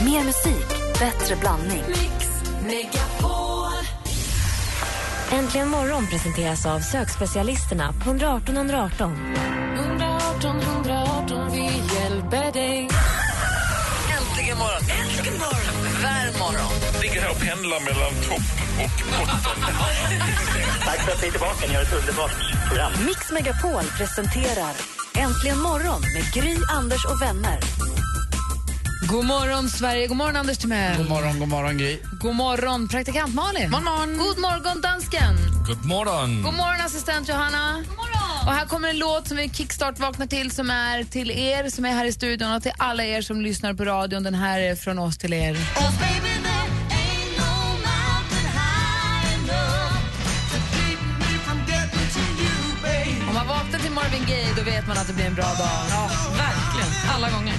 Mer musik, bättre blandning. Mix Megapol. Äntligen morgon presenteras av sökspecialisterna på 118 118. 118 118, vi hjälper dig. Äntligen morgon! Äntligen morgon! Vär morgon! ligger här och pendlar mellan topp och botten. Tack för att ni är tillbaka. Ni har ett underbart program. Mix Megapol presenterar Äntligen morgon med Gry, Anders och vänner. God morgon, Sverige. God morgon, Anders Timell. God morgon, god morgon, Gry. God morgon, praktikant Malin. Morgon, morgon. God morgon, dansken. God morgon! God morgon, assistent Johanna. God morgon. Och här kommer en låt som vi kickstart-vaknar till som är till er som är här i studion och till alla er som lyssnar på radion. Den här är från oss till er. Om man vaknar till Marvin Gaye då vet man att det blir en bra dag. Verkligen, alla gånger.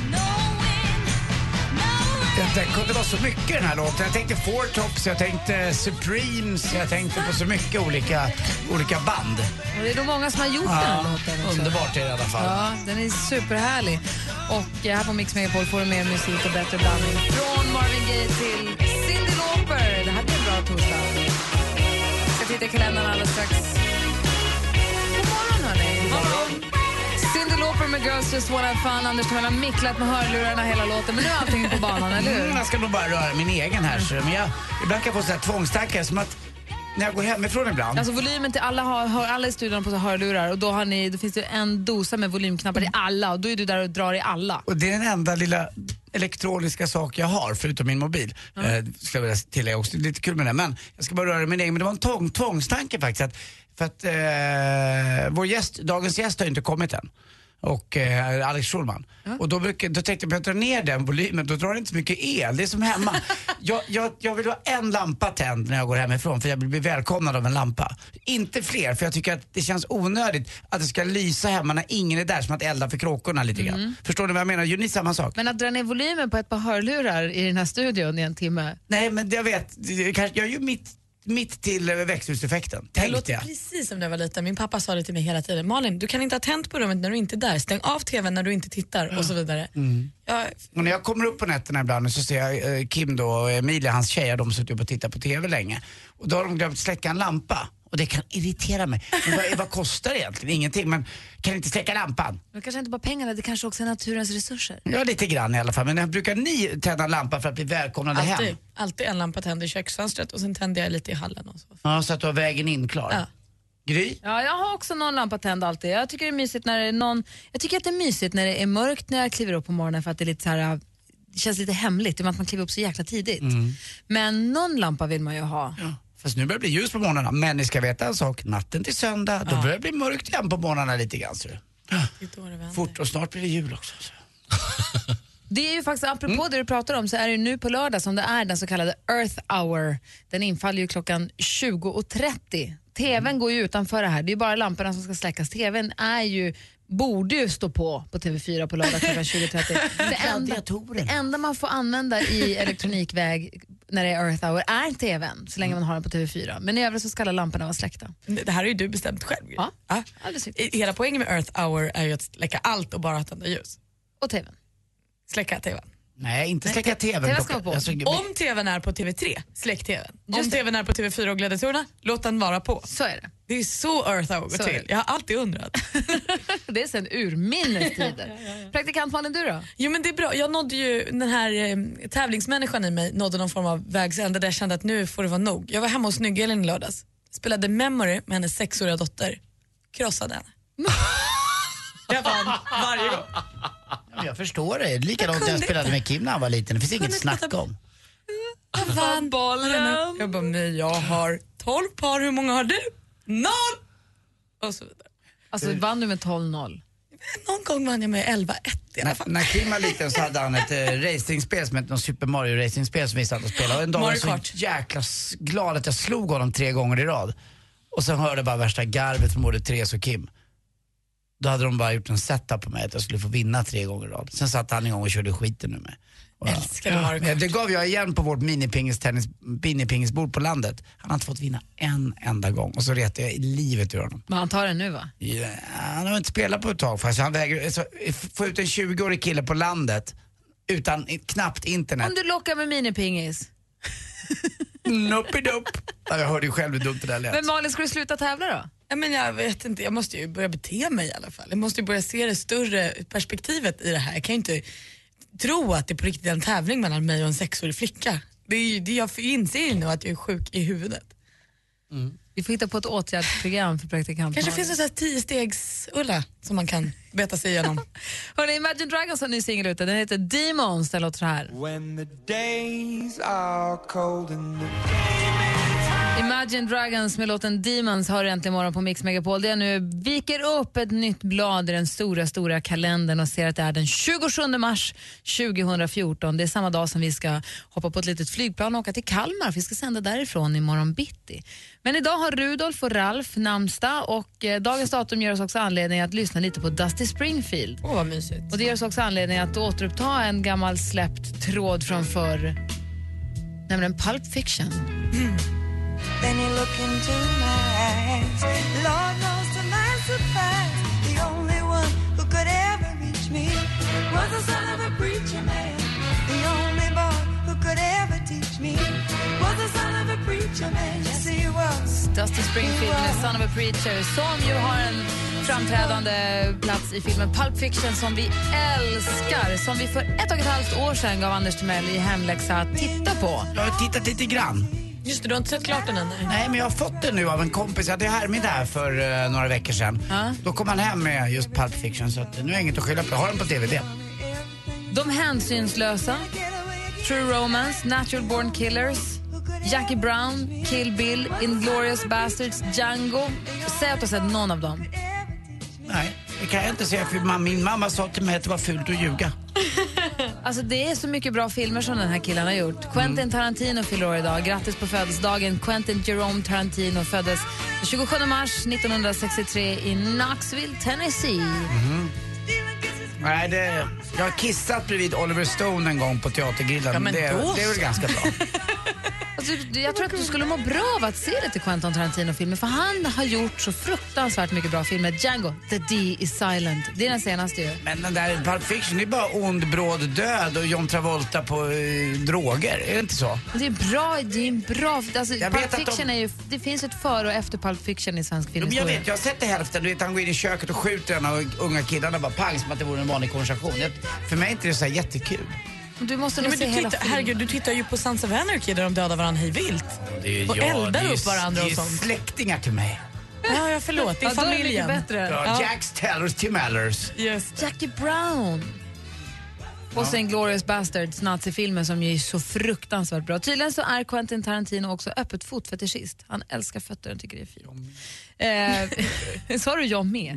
Det kunde vara så mycket den här låten. Jag tänkte Four Tops, jag tänkte Supremes, jag tänkte på så mycket olika, olika band. Och det är nog många som har gjort den här låten. också. underbart är det i alla fall. Ja, den är superhärlig. Och eh, här på Mix Megapol får du mer musik och bättre blandning. Från Marvin Gaye till Cyndi Lauper. Det här blir en bra torsdag. Jag ska titta i kalendern alldeles strax. God morgon, hörni. Cyndi Lauper med Girls Just Wanna Have Fun. Anders Timell har micklat med hörlurarna hela låten, men nu är allting på banan, eller Mm, hur? jag ska nog bara röra min egen här. Så, men jag, ibland kan jag få så här tvångstankar som att när jag går hemifrån ibland. Alltså volymen till alla, har, har alla i studion på hörlurar och då, har ni, då finns det en dosa med volymknappar i alla och då är du där och drar i alla. Och det är den enda lilla elektroniska sak jag har, förutom min mobil. Eh, ska jag vilja tillägga också. Det är lite kul med det. Men jag ska bara röra min egen. Men det var en tång, tvångstanke faktiskt. Att, för att eh, vår gäst, dagens gäst har ju inte kommit än. Och eh, Alex Schulman. Och då, brukar, då tänkte jag, om jag drar ner den volymen, då drar det inte så mycket el. Det är som hemma. jag, jag, jag vill ha en lampa tänd när jag går hemifrån för jag vill bli välkomnad av en lampa. Inte fler, för jag tycker att det känns onödigt att det ska lysa hemma när ingen är där, som att elda för kråkorna lite grann. Mm. Förstår ni vad jag menar? Gör ni samma sak? Men att dra ner volymen på ett par hörlurar i den här studion i en timme. Nej, men jag vet. det kanske- Jag är ju mitt, mitt till eh, växthuseffekten, Det tänkte låter jag. precis som när jag var liten. Min pappa sa det till mig hela tiden. Malin, du kan inte ha tänt på rummet när du inte är där. Stäng av tvn när du inte tittar Ah. och så vidare. Mm. Jag, Och när jag kommer upp på nätterna ibland så ser jag eh, Kim då och Emilia, hans tjejer, de suttit upp och tittat på TV länge. Och då har de glömt släcka en lampa. Och det kan irritera mig. Men vad, vad kostar det egentligen? Ingenting. Men kan inte släcka lampan? Men kanske inte bara pengarna, det kanske också är naturens resurser. Ja, lite grann i alla fall. Men när brukar ni tända en lampa för att bli välkomnade alltid, hem? alltid en lampa tänd i köksfönstret och sen tänder jag lite i hallen. Och så. Ja, så att du har vägen in klar. Ja. Gry? Ja, jag har också någon lampa tänd alltid. Jag tycker, det är mysigt när det är någon, jag tycker att det är mysigt när det är mörkt när jag kliver upp på morgonen för att det är lite så här, det känns lite hemligt i och med att man kliver upp så jäkla tidigt. Men någon lampa vill man ju ha. Fast nu börjar det bli ljus på morgnarna. Men ni ska veta en sak. Natten till söndag, då börjar det bli mörkt igen på morgnarna lite grann. ser du. Det är då det vänder. Fort och snart blir det jul också. så. Det är ju faktiskt, apropå det du pratar om, så är det ju nu på lördag som det är den så kallade Earth hour. Den infaller ju klockan 20.30. TVn går ju utanför det här, det är ju bara lamporna som ska släckas. TVn är ju, borde ju stå på på TV4 på lördag klockan 20.30. Det enda, Gladiatorerna. det enda man får använda i elektronikväg när det är Earth hour är TVn, så länge man har den på TV4. Men i övrigt så ska alla lamporna vara släckta. Det här har ju du bestämt själv. Gry. Ja. Ja. Alldeles riktigt. I- Hela poängen med Earth hour är ju att släcka allt och bara tända ljus. Och TVn. Släcka tvn. Nej, inte släcka tvn. TV ska vara på. Alltså, Om tvn är på TV3, släck tvn. Om Just det. tvn är på TV4 och Gladiatorerna, låt den vara på. Så är det. Det är så Earth hour går Så är det. till. Jag har alltid undrat. Det är sen urminnes tider. Praktikant Malin, du då? Jo men det är bra. Jag nådde ju, den här eh, tävlingsmänniskan i mig nådde någon form av vägs ände där jag kände att nu får det vara nog. Jag var hemma hos Snygg-Elin i lördags, spelade Memory med hennes sexåriga dotter, krossade henne. jag vann varje gång. Jag förstår det. Likadant Jag när jag kunde spelade med Kim när han var liten. Det finns inget kunde inte snack om. Jag vann bollen. Jag bara, nej jag har 12 par, hur många har du? Noll! Och så vidare. Alltså vann du med 12-0? Någon gång vann jag med 11-1 i alla När, fall. när Kim var liten så hade han ett eh, racingspel som hette någon Super Mario racingspel som vi satt och spelade. Och en dag var jag så Mario Kart. jäkla s- glad att jag slog honom tre gånger i rad. Och sen hörde jag bara värsta garvet från både Therese och Kim. Då hade de bara gjort en setup på mig att jag skulle få vinna tre gånger i rad. Sen satt han igång och körde skiten nu med. Och jag- Älskar du Mario Men Kart? det gav jag igen på vårt minipingistennis- minipingisbord på landet. Han har inte fått vinna en enda gång och så retade jag livet ur honom. Men han tar den nu va? Ja, han har inte spelat på ett tag faktiskt. Han väger, alltså, f- få ut en 20-årig kille på landet utan i- knappt internet. Om du lockar med minipingis. Nuppidupp. Ja, Jag hörde ju själv hur dumt det där lät. Men Malin, ska du sluta tävla då? Ja, men jag vet inte, jag måste ju börja bete mig i alla fall. Jag måste ju börja se det större perspektivet i det här. Jag kan ju inte tro att det på riktigt är en tävling mellan mig och en sexårig flicka. Det är ju, det jag inser ju nu att jag är sjuk i huvudet. Vi får hitta på ett åtgärdsprogram för praktikant Kanske Malin. finns det så här tiostegs-Ulla som man kan beta sig igenom. Hörrni, Imagine Dragons har en ny singel ute. Den heter Demons. Den låter så här. Imagine Dragons med låten Demons har du äntligen morgon på Mix Megapol. Det jag nu viker upp ett nytt blad i den stora, stora kalendern och ser att det är den 27 mars 2014. Det är samma dag som vi ska hoppa på ett litet flygplan och åka till Kalmar. Vi ska sända därifrån imorgon bitti. Men idag har Rudolf och Ralf namnsdag och eh, dagens datum ger oss också anledning att lyssna lite på Dusty Springfield. Åh vad mysigt. Och det ger oss också anledning att återuppta en gammal släppt tråd från förr, nämligen Pulp Fiction. Dusty Springfield med Son of a Preacher som ju har en framträdande plats i filmen Pulp Fiction som vi älskar. Som vi för ett och ett halvt år sedan gav Anders Timell i hemläxa att titta på. Jag har tittat lite grann. Just det, du har inte sett klart den än? nej. Nej, men jag har fått det nu av en kompis. Jag hade härmiddag här för eh, några veckor sedan. Då kom han hem med just Pulp Fiction så att, eh, nu är jag inget att skylla på. Jag har den på DVD. De hänsynslösa, True Romance, Natural Born Killers, Jackie Brown, Kill Bill, Inglourious Basterds, Django. Säg att du har sett någon av dem. Nej, det kan jag inte säga för man, min mamma sa till mig att det var fult att ljuga. Alltså det är så mycket bra filmer som den här killen har Mm. gjort. Quentin Tarantino fyller år idag. Grattis på födelsedagen. Quentin Jerome Tarantino föddes den 27 mars 1963 i Knoxville, Tennessee. Nej, det, jag har kissat bredvid Oliver Stone en gång på Teatergrillen. Ja, men det, då det är väl så. ganska bra. Alltså, du- jag tror att du skulle må bra av att se lite Quentin Tarantino-filmer för han har gjort så fruktansvärt mycket bra filmer. Django, The D is silent. Det är den senaste ju. Men den där Pulp Fiction, det är bara ond, bråd död och John Travolta på eh, droger. Är det inte så? Det är bra, det är en bra... Alltså, Jag vet Pulp att de- Fiction är ju... Det finns ett före och efter Pulp Fiction i svensk Jo, men jag filmhistoria. vet, jag har sett det hälften. Du vet, han går in i köket och skjuter en av unga killarna bara pang som att det vore en vanlig konversation. Jag, för mig är inte det så här jättekul. Du måste Ja, nog men se du hela tittar, filmen. herregud, du tittar ju på Sons of Anarchy där de dödar varandra hej vilt. Och eldar upp varandra och sånt. släktingar till mig. Ja, ja, förlåt. Det är Ja, då är det familjen. mycket bättre. Ja, Ja. Jacks Tellers till Mallers. Yes. Jackie Brown. Och sen Glorious Bastards, nazifilmen som ju är så fruktansvärt bra. Tydligen så är Quentin Tarantino också öppet fotfetischist. Han älskar fötter och tycker det är fint. Eh, sa du jag med?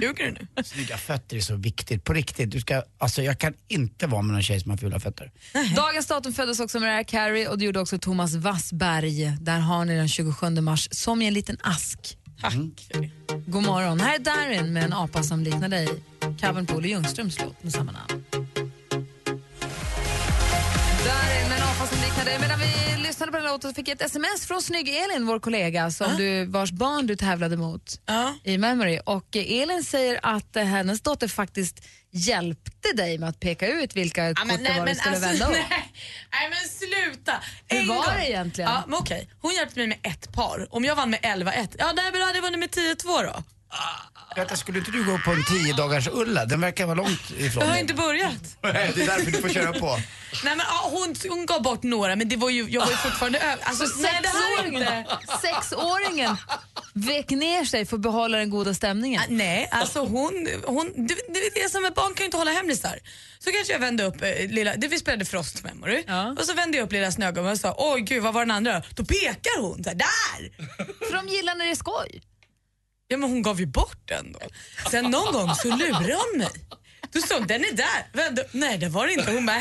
Ljuger du nu? Snygga fötter är så viktigt. På riktigt. Du ska, alltså, jag kan inte vara med någon tjej som har fula fötter. Dagens datum föddes också Mariah Carey och det gjorde också Thomas Wassberg. Där har ni den 27 mars, som i en liten ask. Tack för det. God morgon, här är Darin med en apa som liknar dig. Covern på Olle Ljungströms låt med samma namn. Darin med en apa som liknar dig. Medan vi lyssnade på den här låten så fick jag ett sms från snygg-Elin, vår kollega, som du, vars barn du tävlade mot Ja. i Memory. Och eh, Elin säger att eh, hennes dotter faktiskt hjälpte dig med att peka ut vilka kort det var du skulle vända upp. alltså, nej, nej men sluta. Hur En var gång. det egentligen? Ja, men okej. Hon hjälpte mig med ett par. Om jag vann med 11-1, ja, nej, men då hade jag vunnit med 10-2 då. Vänta, skulle inte du gå på en tio dagars ulla Den verkar vara långt ifrån Jag har dig. inte börjat. Nej, Det är därför du får köra på. Nej, men, ja, hon, hon gav bort några, men det var ju, jag var ju fortfarande över. Alltså, nej, det här är Sexåringen, inte. sexåringen vek ner sig för att behålla den goda stämningen. Ah, Nej, alltså hon, hon det, det är det som är barn kan ju inte hålla hemlisar. Så kanske jag vände upp eh, lilla, det vi spelade Frost Memory Ja. och så vände jag upp lilla snögubben och sa oj gud vad var den andra då?" Då pekar hon så här, där! För de gillar när det är skoj. Ja men hon gav ju bort den då. Sen någon gång så lurade hon mig. Då sa hon den är där, vände upp. Nej det var det inte. Hon bara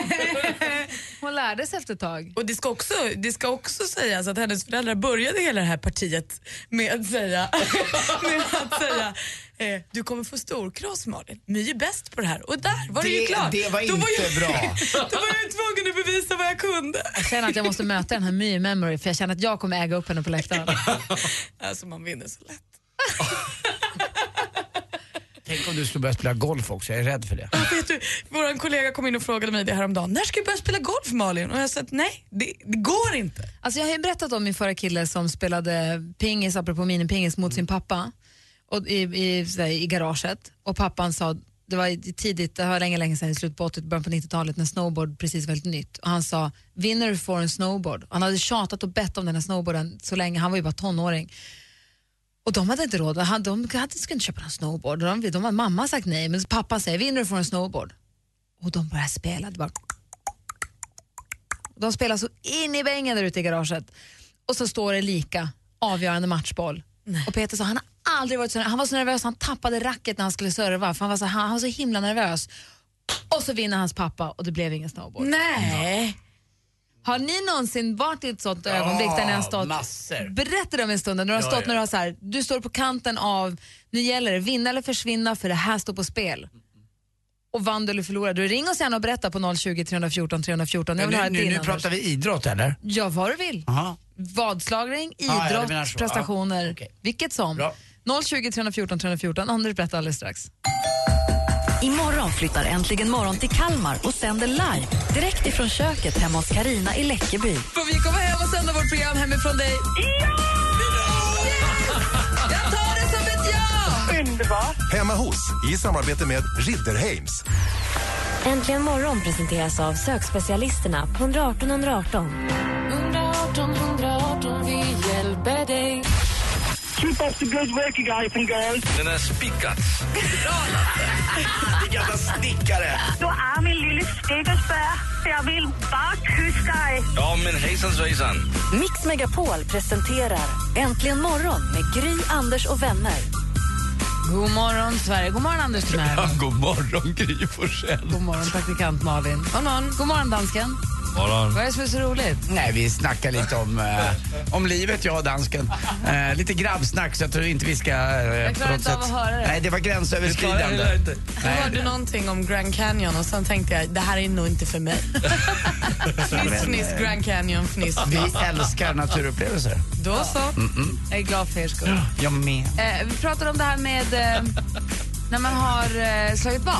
"Hehehe." Hon lärde sig efter ett tag. Och det ska, också, det ska också sägas att hennes föräldrar började hela det här partiet med att säga, med att säga eh, du kommer få storkross Malin, My är bäst på det här. Och där var det, ju Det- klart. det var Då inte jag, bra. Då var jag ju tvungen att bevisa vad jag kunde. Jag känner att jag måste möta den här My Memory för jag känner att jag kommer äga upp henne på läktaren. Alltså man vinner så lätt. Tänk om du skulle börja spela golf också, jag är rädd för det. Ja, Vet du, vår kollega kom in och frågade mig det häromdagen. När ska du börja spela golf Malin? Och jag sa att nej, det, det går inte. Alltså jag har ju berättat om min förra kille som spelade pingis, apropå minipingis, mot sin pappa och i, i, så här, i garaget. Och pappan sa, det var i- tidigt, det var länge, länge sedan, i slutet på 80 början på 90-talet när snowboard precis var helt nytt. Och han sa, vinner du får en snowboard. Och Han hade tjatat och bett om den här snowboarden så länge, han var ju bara tonåring. Och de hade inte råd, han, de hade, skulle inte köpa någon snowboard. De, de, de, mamma har sagt nej, men pappa säger, vinner du får en snowboard. Och de började spela, det bara de spelar så in i bängen där ute i garaget. Och så står det lika, avgörande matchboll. Och Peter sa, han har aldrig varit så nervös. Han var så nervös han tappade racket när han skulle serva. För han, var så, han, han var så himla nervös. Och så vinner hans pappa och det blev ingen snowboard. Nej. Har ni någonsin varit i ett sånt ögonblick där ni har stått... massor. Berätta det om en stund. När du har Ja, stått ja. när du har så här, du står på kanten av, nu gäller det vinna eller försvinna för det här står på spel. Och vann du eller förlorade du? Ring oss gärna och berätta på 020 314 314. Jag vill höra Nu, nu, din nu Anders. pratar vi idrott eller? Ja, vad du vill. Aha. Vadslagning, ja, idrott, det menar så. prestationer, Ja, okej. vilket som. Bra. 020 314 314. Anders berättar alldeles strax. Imorgon flyttar Äntligen morgon till Kalmar och sänder live direkt ifrån köket hemma hos Karina i Läckeby. Får vi komma hem och sända vårt program hemifrån dig? Ja! Jag tar det som ett ja! Underbart! Hemma hos i samarbete med Ridderheims. Äntligen morgon presenteras av sökspecialisterna på 118 118. 118 118 vi hjälper dig. Keep up the good work you guys and girls. Den är spikad. Det gamla snickare. Du är min lille stegelsbär. Jag vill bara kyssa dig. Ja, men hejsan svejsan. Mix Megapol presenterar Äntligen morgon med Gry, Anders och vänner. God morgon, Sverige. God morgon, Anders Timell. God morgon, Gry Forssell. God morgon, praktikant Malin. God morgon, God morgon dansken. Vad är det som är så roligt? Nej, vi snackar lite om, eh, om livet, jag och dansken. Eh, lite grabbsnack så jag tror inte vi ska... Eh, jag klarar inte av att höra det. Nej, det var gränsöverskridande. Jag hörde någonting om Grand Canyon och sen tänkte jag, det här är nog inte för mig. fniss, fniss, Grand Canyon, fniss. Vi älskar naturupplevelser. Då så. Jag är glad för er skull. Jag med. Eh, vi pratade om det här med eh, när man har eh, slagit vad.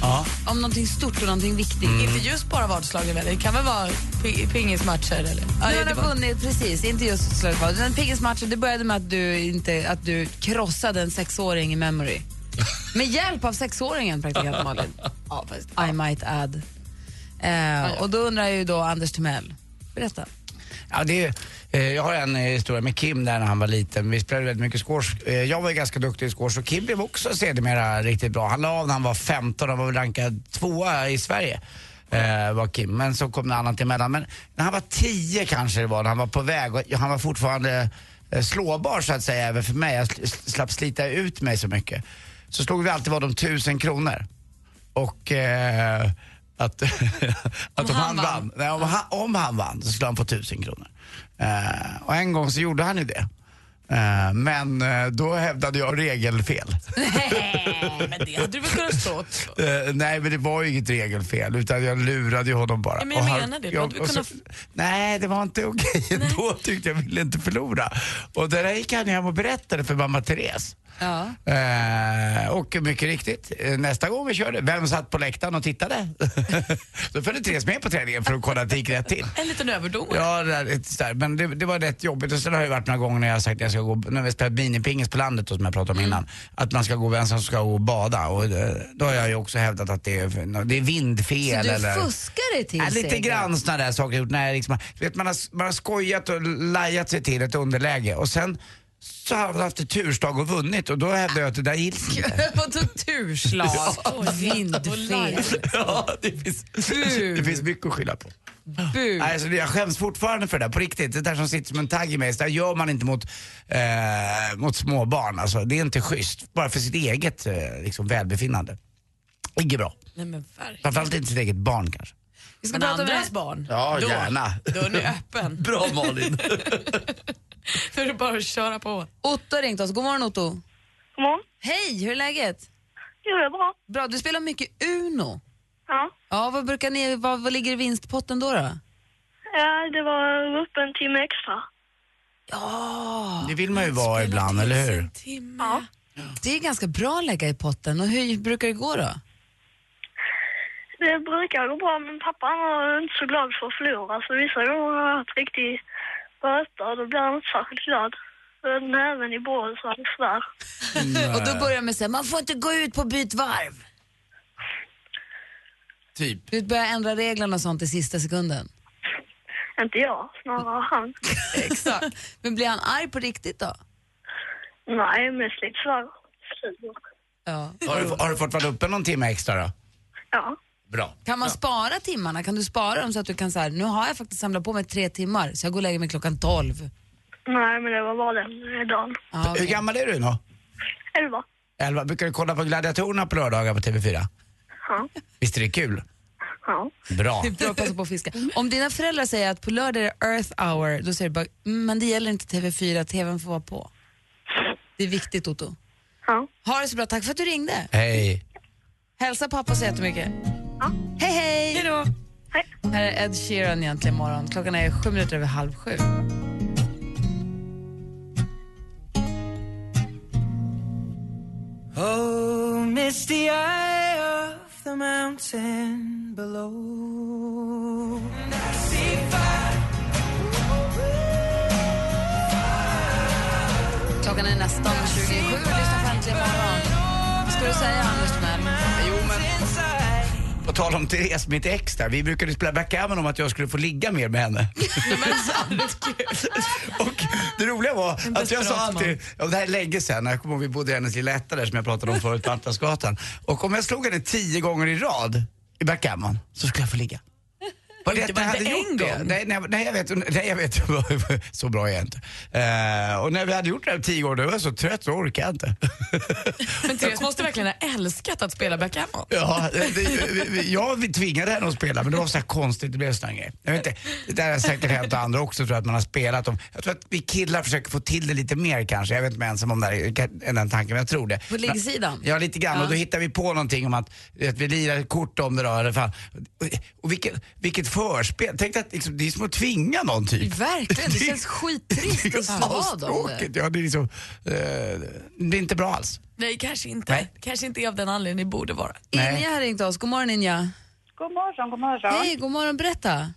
Ja. Om någonting stort och någonting viktigt. Inte just bara vadslagen väl? Det kan väl vara pi- pingismatcher eller? Ja, Nu har du det var... vunnit, precis, inte just slagit vad. Den piggismatchen, det började med att du, inte, att du krossade en sexåring i memory. Med hjälp av sexåringen praktikant Malin. ja, fast, I might add. Eh, och då undrar jag ju då Anders Timell, berätta. Ja, det är, eh, jag har en eh, historia med Kim där när han var liten. Vi spelade väldigt mycket squash. Eh, jag var ju ganska duktig i squash och Kim blev också sedermera riktigt bra. Han la av när han var 15 och var väl rankad tvåa i Sverige. Eh, var Kim. Men så kom det annat emellan. Men när han var 10 kanske det var, när han var på väg och han var fortfarande eh, slåbar så att säga även för mig. Jag sl- slapp slita ut mig så mycket. Så slog vi alltid vad om tusen kronor. Och eh, att, att om, han vann, Nej, om, han, om han vann så skulle han få tusen kronor. Eh, och en gång så gjorde han ju det. Eh, men eh, då hävdade jag regelfel. Men det hade du väl kunnat stå åt? Eh, nej men det var ju inget regelfel utan jag lurade ju honom bara. Ja, men jag Och han- menar det. Du hade Jag, väl och så, kunnat nej det var inte okej ändå tyckte jag, ville inte förlora. Och där gick han hem och berättade för mamma Therese. Ja. Eh, och mycket riktigt, eh, nästa gång vi körde, vem satt på läktaren och tittade? Då följde Therese med på träningen för att kolla att det gick rätt till. En liten överdos. Ja, det där, lite sådär. men det, det var rätt jobbigt. Och sen har det ju varit några gånger när jag har sagt att jag ska gå, när vi spelat minipingis på landet och som jag pratade Mm. om innan, att man ska gå vem som ska gå och bada. Och det, då har jag ju också hävdat att det är, det är Så vindfel du eller... fuskar dig till Ja, lite seger. grann sådana där saker jag gjort. Nej, liksom, du vet, man, har, man har skojat och lajat sig till ett underläge och sen så har man haft ett tursdag och vunnit och då hävdar jag att det där gills inte. På turslag och vindfel. Ja, det finns, det finns mycket att skylla på. Bu. Nej, Alltså, jag skäms fortfarande för det där, på riktigt. Det där som sitter som en tagg i mig, så där gör man inte mot, eh, mot småbarn. Alltså, det är inte schysst, bara för sitt eget eh, liksom, välbefinnande. Inget bra. Nej men verkligen. Framförallt inte sitt eget barn kanske. Vi ska Men prata andras med... barn, Ja, då, gärna. då är ni öppen. Bra Malin. Då är det bara att köra på. Otto har ringt oss. God morgon Otto. Kom on. Hej, hur är läget? Jo, det är bra. Bra, du spelar mycket Uno. Ja. Ja, vad brukar ni, vad, vad ligger i vinstpotten då? då? ja, det var uppe en timme extra. Ja, Det vill man ju vara ibland, eller hur? Timme. Det är ganska bra att lägga i potten. Och hur brukar det gå då? Det brukar gå bra, men pappa han var inte så glad för att förlora. Så vissa gånger har han haft riktig böta och då blir han inte särskilt glad. Men även i bål så han svär. Och då börjar man säga, man får inte gå ut på byt varv. Typ. Du börjar ändra reglerna och sånt i sista sekunden. Inte jag, snarare han. Exakt. Men blir han arg på riktigt då? Nej, mest lite svär. Ja. Har du, har du fått vara uppe någon timme extra då? Ja. Bra. Kan man spara timmarna? Kan du spara dem så att du kan så här, nu har jag faktiskt samlat på mig tre timmar så jag går och lägger mig klockan tolv. Nej, men det var bara den dagen. Hur gammal är du nu? Elva. Elva. Brukar du kolla på Gladiatorerna på lördagar på TV4? Ja. Visst är det kul? Ja. Bra. Det är bra att passa på att fiska. Om dina föräldrar säger att på lördag är det earth hour, då säger du bara, "Mm, men det gäller inte TV4, TVn får vara på. Det är viktigt Otto. Ja. Ha det så bra, tack för att du ringde. Hej. Hälsa pappa så jättemycket. Hej hej! Hej då! Här är Ed Sheeran egentligen imorgon. Klockan är sju minuter över halv sju. Oh, misty eye of the mountain below. And I see fire. Klockan är nästan 27 och lyssnar på Äntligen morgon. Vad ska du säga Anders Timell? Jo På tal om Therese, mitt ex där. Vi brukade spela backgammon om att jag skulle få ligga mer med henne. och det roliga var En att jag sa desperat man. alltid, ja, det här är länge sedan, jag kommer ihåg vi bodde i hennes lilla etta där som jag pratade om förut på Atlasgatan. Och om jag slog henne tio gånger i rad i backgammon så skulle jag få ligga. Var det, Inte att bara jag hade inte en gjort det? gång? Nej, nej, nej, jag vet, nej, jag vet så bra är jag inte. Eh, och när vi hade gjort det här tio gånger, då var jag så trött så orkade jag inte. Men Therese måste verkligen ha älskat att spela backgammon. Ja, det, vi- vi- jag tvingade henne att spela men det var så här konstigt, det blev en sån här grej. Jag vet inte, det där har säkert hänt andra också tror jag att man har spelat om. Jag tror att vi killar försöker få till det lite mer kanske. Jag vet inte om jag är ensam om det här, är den tanken, men jag tror det. På liggsidan? Ja, lite grann. Ja. Och då hittar vi på någonting om att, att vi lirar kort om det då, eller fan. Och, och vilket, vilket förspel. Tänk dig att liksom, det är som att tvinga någon typ. Verkligen, det känns skittrist Det är att vad om det. astråkigt. Ja, det är liksom, eh, det är inte bra alls. Nej, kanske inte. Nej. Kanske inte är av den anledningen det borde vara. Inja har ringt oss. God morgon Inja. God morgon, god morgon. Hej, god morgon. Berätta.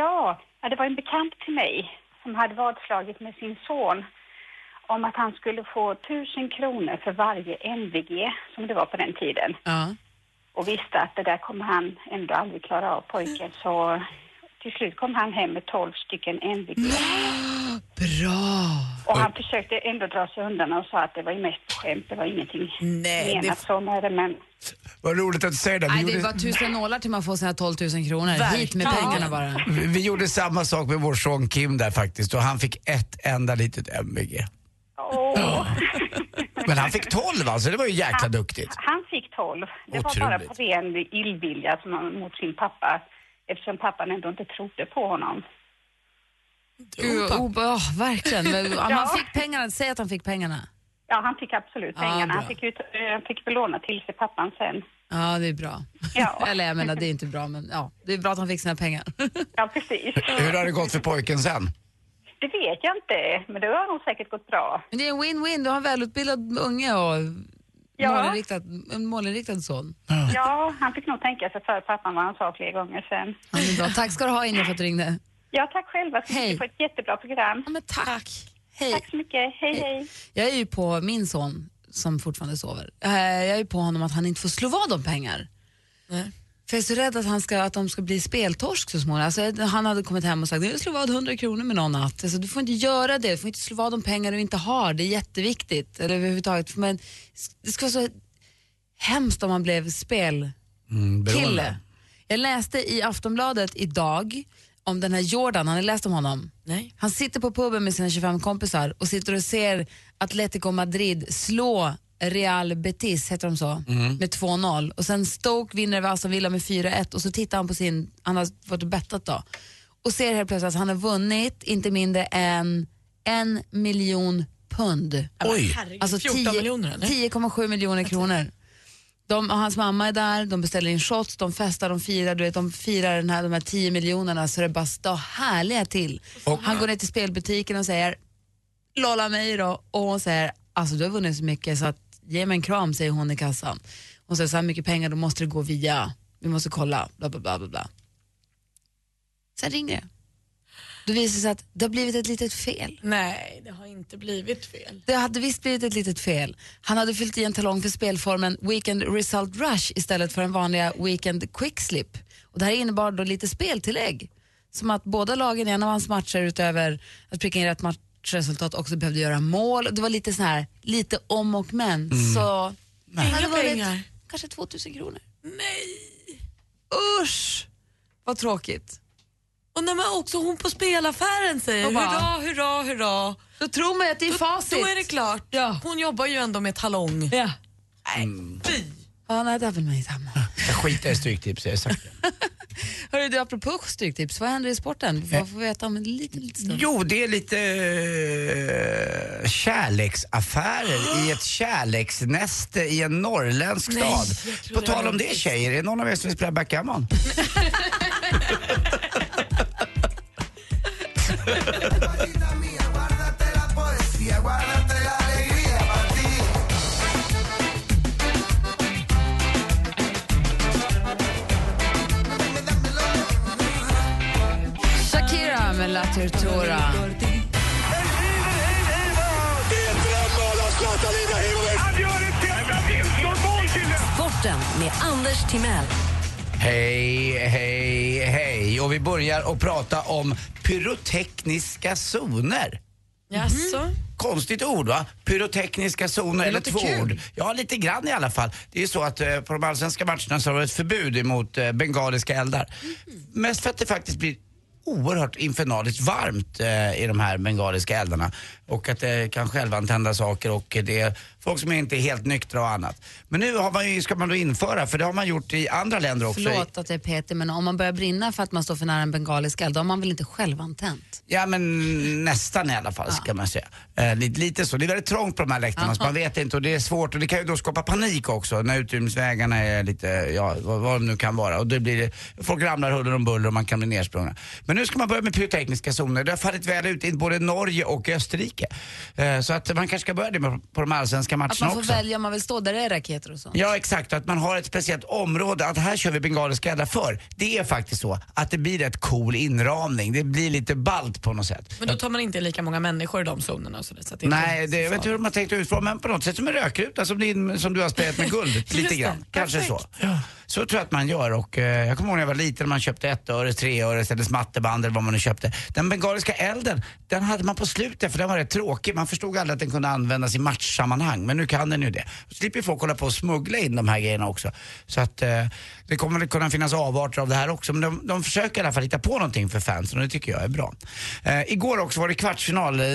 Ja, ja, det var en bekant till mig som hade vadslagit med sin son om att han skulle få 1000 kronor för varje MVG som det var på den tiden. Ja. Och visste att det där kommer han ändå aldrig klara av pojken så till slut kom han hem med 12 stycken MVG. Bra! Och han försökte ändå dra sig undan och sa att det var ju mest på skämt, det var ingenting Nej, menat det- så med det men Vad roligt att du säger det. Vi Nej, det är gjorde- bara tusen nålar till man får sina 12 000 kronor. Hit med pengarna bara. Vi, vi gjorde samma sak med vår son Kim där faktiskt och han fick ett enda litet MVG. Men han fick 12 alltså, det var ju jäkla duktigt. Han fick 12. Det var bara Otroligt. på ren illvilja som han, mot sin pappa eftersom pappan ändå inte trodde på honom. Gud, oh, oh, verkligen. Men, om Ja. han fick pengarna, säg att han fick pengarna. Ja, han fick absolut Ah, pengarna. bra. han fick, ut, eh, han fick väl låna till sig pappan sen. Ja, det är bra. Eller jag menar, det är inte bra, men ja, det är bra att han fick sina pengar. Ja, precis. Hur har det gått för pojken sen? Det vet jag inte, men det har nog säkert gått bra. Men det är en win-win. Du har en välutbildad unge och Ja. målinriktad, en målinriktad son. Ja, han fick nog tänka sig för pappan vad han sa flera gånger sen. Han är bra. Tack ska du ha, Inja, för att du ringde. Ja, tack själva så mycket för ett jättebra program. Ja, men tack. Tack. Hej. tack så mycket. Hej, hej. Jag är ju på min son, som fortfarande sover, eh, jag är på honom att han inte får slå vad om pengar. För jag är så rädd att, han ska, att de ska bli speltorsk så småningom. Alltså, jag- han hade kommit hem och sagt, jag slår vad 100 kronor med någon natt. Alltså, du får inte göra det, du får inte slå vad om pengar du inte har, det är jätteviktigt. Eller överhuvudtaget, men det skulle vara så hemskt om man blev spel Mm, beroende. kille. Jag läste i Aftonbladet idag om den här Jordan, har ni läst om honom? Nej. Han sitter på puben med sina 25 kompisar och sitter och ser Atletico Madrid slå Real Betis, heter de så, Mm. med 2-0. Och sen Stoke vinner över Aston Villa med 4-1 och så tittar han på sin, han har varit och bettat då, och ser helt plötsligt att han har vunnit inte mindre än en miljon pund. Oj. herregud, Alltså, 14 10 miljoner, eller? 10,7 miljoner kronor. De och hans mamma är där, de beställer in shots, de festar, de firar, du vet, de firar den här, de här 10 miljonerna så det bara står härliga till. Han går ner till spelbutiken och säger “Lolla mig då” och hon säger “Alltså du har vunnit så mycket så att ge mig en kram, säger hon i kassan. Hon säger så här mycket pengar, då måste det gå via, vi måste kolla, bla bla bla bla. bla. Sen ringer det. Då visar det sig att det har blivit ett litet fel. Nej, det har inte blivit fel. Det hade visst blivit ett litet fel. Han hade fyllt i en talong för spelformen Weekend Result Rush istället för den vanliga Weekend Quickslip. Och det här innebar då lite speltillägg. Som att båda lagen i en av hans matcher utöver att pricka in rätt matchresultat också behövde göra mål. Det var lite så här, lite om och men. Mm. Så Nej. det hade Inga pengar. kanske 2000 kronor. Nej! Usch! Vad tråkigt. Och när man också hon på spelaffären säger Och bara- hurra, hurra, hurra. Då tror man att det är facit. Då är det klart. Hon jobbar ju ändå med talong. Ja. Mm. Ja, nej, där vill man inte hamna. Jag skiter i stryktips, jag har sagt det. Hörru du, apropå stryktips, vad händer i sporten? Eh. Vad får vi veta om en liten, liten Mm. stund? Jo, det är lite eh, kärleksaffärer i ett kärleksnäste i en norrländsk Nej, stad. jag tror På det tal var om det riktigt. tjejer, är det någon av er som vill spela backgammon? Shakira med La Tortura. Sporten med Anders Timell. Hej, hej, hej. Och vi börjar att prata om pyrotekniska zoner. Jaså? Mhm. Konstigt ord va? Pyrotekniska zoner, eller två ord. Ja, lite grann i alla fall. Det är ju så att eh, på de allsvenska matcherna så har det varit förbud emot eh, bengaliska eldar. Mest för att det faktiskt blir oerhört infernaliskt varmt eh, i de här bengaliska eldarna. Och att det kan självantända saker och det är folk som inte är helt nyktra och annat. Men nu har man ju, ska man då införa, för det har man gjort i andra länder också. Förlåt att jag är petig, men om man börjar brinna för att man står för nära en bengalisk eld, då har man väl inte själv antänt? Ja men nästan i alla fall ska man säga. Eh, lite, lite så. Det är väldigt trångt på de här läktarna så man vet inte och det är svårt och det kan ju då skapa panik också när utrymningsvägarna är lite, ja vad, vad de nu kan vara. Och det blir, folk ramlar huller om buller och man kan bli nersprungna. Men nu ska man börja med pyrotekniska zoner. Det har fallit väl ut i både Norge och Österrike. Eh, så att man kanske ska börja det med, på de allsvenska matcherna Att man får också. välja om man vill stå där det är raketer och sånt. Ja exakt, att man har ett speciellt område, att här kör vi bengaliska eldar för. Det är faktiskt så att det blir rätt cool inramning, det blir lite balt på något sätt. Men då tar man inte lika många människor i de zonerna. Så det, så att det inte Nej, är det, jag vet inte hur de har tänkt utforma men på något sätt som en rökruta som, din, som du har sprejat med guld Just lite det, grann. Kanske perfekt. så. Så tror jag att man gör och eh, jag kommer ihåg när jag var liten man köpte ett öre, tre öre eller smatteband eller vad man nu köpte. Den bengaliska elden, den hade man på slutet för den var rätt tråkig. Man förstod aldrig att den kunde användas i matchsammanhang men nu kan den ju det. Då slipper ju folk hålla på och smuggla in de här grejerna också. Så att eh, det kommer väl kunna finnas avarter av det här också men de, de försöker i alla fall hitta på någonting för fansen och det tycker jag är bra. Eh, igår också var det kvartsfinal, eh,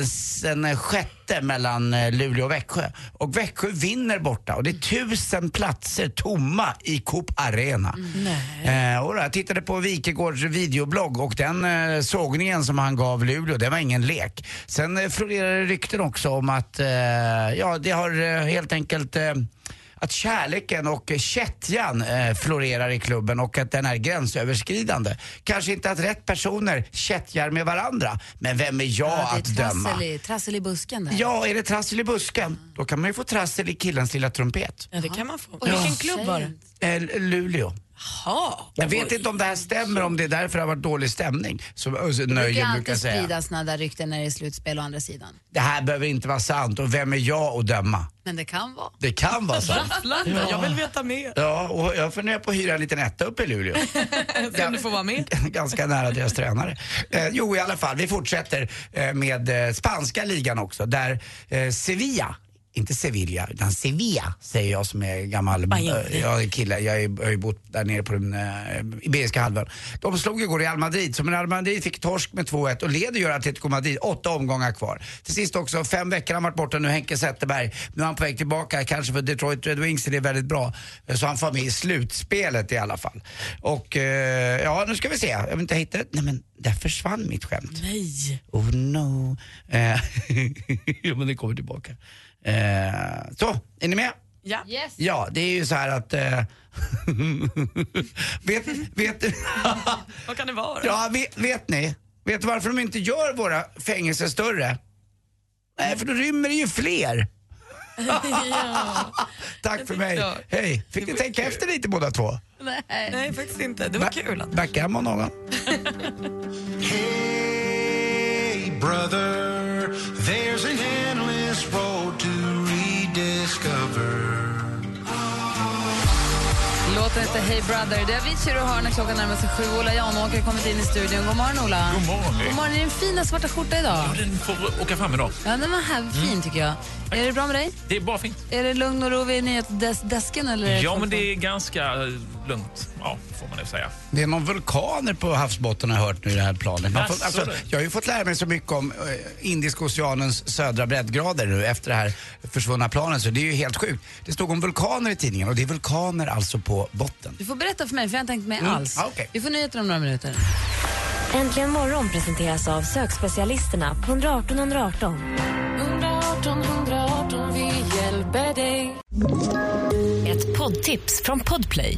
den eh, sjätte mellan eh, Luleå och Växjö. Och Växjö vinner borta och det är tusen platser tomma i Coop Arena. Mm. Eh, och då, jag tittade på Wikegårds videoblogg och den eh, sågningen som han gav Luleå, det var ingen lek. Sen eh, florerar det rykten också om att, eh, ja det har eh, helt enkelt eh, att kärleken och kättjan eh, florerar i klubben och att den är gränsöverskridande. Kanske inte att rätt personer kättjar med varandra, men vem är jag det är att döma? trassel i, trassel i busken där. Ja, är det trassel i busken, då kan man ju få trassel i killens lilla trumpet. Ja, det kan man få. Och vilken klubb var det? Eh, Luleå. Ja. Jag vet inte om det här stämmer, om det är därför det har varit dålig stämning. Som Özz Det kan Nöjen brukar alltid säga. spridas såna där rykten när det är slutspel å andra sidan. Det här behöver inte vara sant och vem är jag att döma? Men det kan vara. Det kan vara sant. Jag vill veta mer. Ja, och jag funderar på att hyra en liten etta uppe i Luleå. Sen du får vara med. Ganska nära deras tränare. Eh, jo, i alla fall, vi fortsätter eh, med eh, spanska ligan också, där eh, Sevilla inte Sevilla, utan Sevilla säger jag som är gammal eh, jag är kille. Jag är- jag har ju bott där nere på den eh, Iberiska halvön. De slog igår Real Madrid, så men Real Madrid fick torsk med 2-1 och leder ju Atletico Madrid. Åtta omgångar kvar. Till sist också, fem veckor har han varit borta nu, Henke Zetterberg. Nu är han på väg tillbaka, kanske för Detroit Red Wings är det väldigt bra. Eh, Så han får med i slutspelet i alla fall. Och eh, ja, nu ska vi se. Jag vill inte hitta Nej men, där försvann mitt skämt. Nej. Oh no. Eh, jo, men det kommer tillbaka. Eh, så, är ni med? Ja. Ja, det är ju så här att... Eh, vet, vet, Vad kan det vara? ja, vet, vet ni? Vet du varför de inte gör våra fängelser större? Nej, för då rymmer det ju fler. ja. Tack för mig. Hej. Fick ni tänka efter lite båda två? Nej. Nej, faktiskt inte. Det var Ba- kul. att- Backa hem av någon. Hey, brother, there's an endless road to rediscover. Låten heter Hey Brother. Det är Avicii du hör när klockan närmar sig sju. Ola Janåker har kommit in i studion. God morgon, Ola. God morgon, hej. God morgon. Är din fina svarta skjorta idag? Ja, den får åka fram idag. Ja, den var här fin tycker jag. Är det bra med dig? Det är bara fint. Är det lugn och ro vid nyhetsdesken? Eller är Ja, men folk- det är ganska eh, lugnt, ja, får man ju säga. Det är någon vulkaner på havsbotten har jag hört nu i det här planet. Man får, Jaså, alltså, du? jag har ju fått lära mig så mycket om eh, Indiska oceanens södra breddgrader nu efter det här försvunna planet så det är ju helt sjukt. Det stod om vulkaner i tidningen och det är vulkaner alltså på botten. Du får berätta för mig för jag har inte hängt med Mm. alls. Ah, okej. Vi får nyheter om några minuter. Äntligen morgon presenteras av sökspecialisterna på 118 118. 118 118, vi hjälper dig. Ett poddtips från Podplay.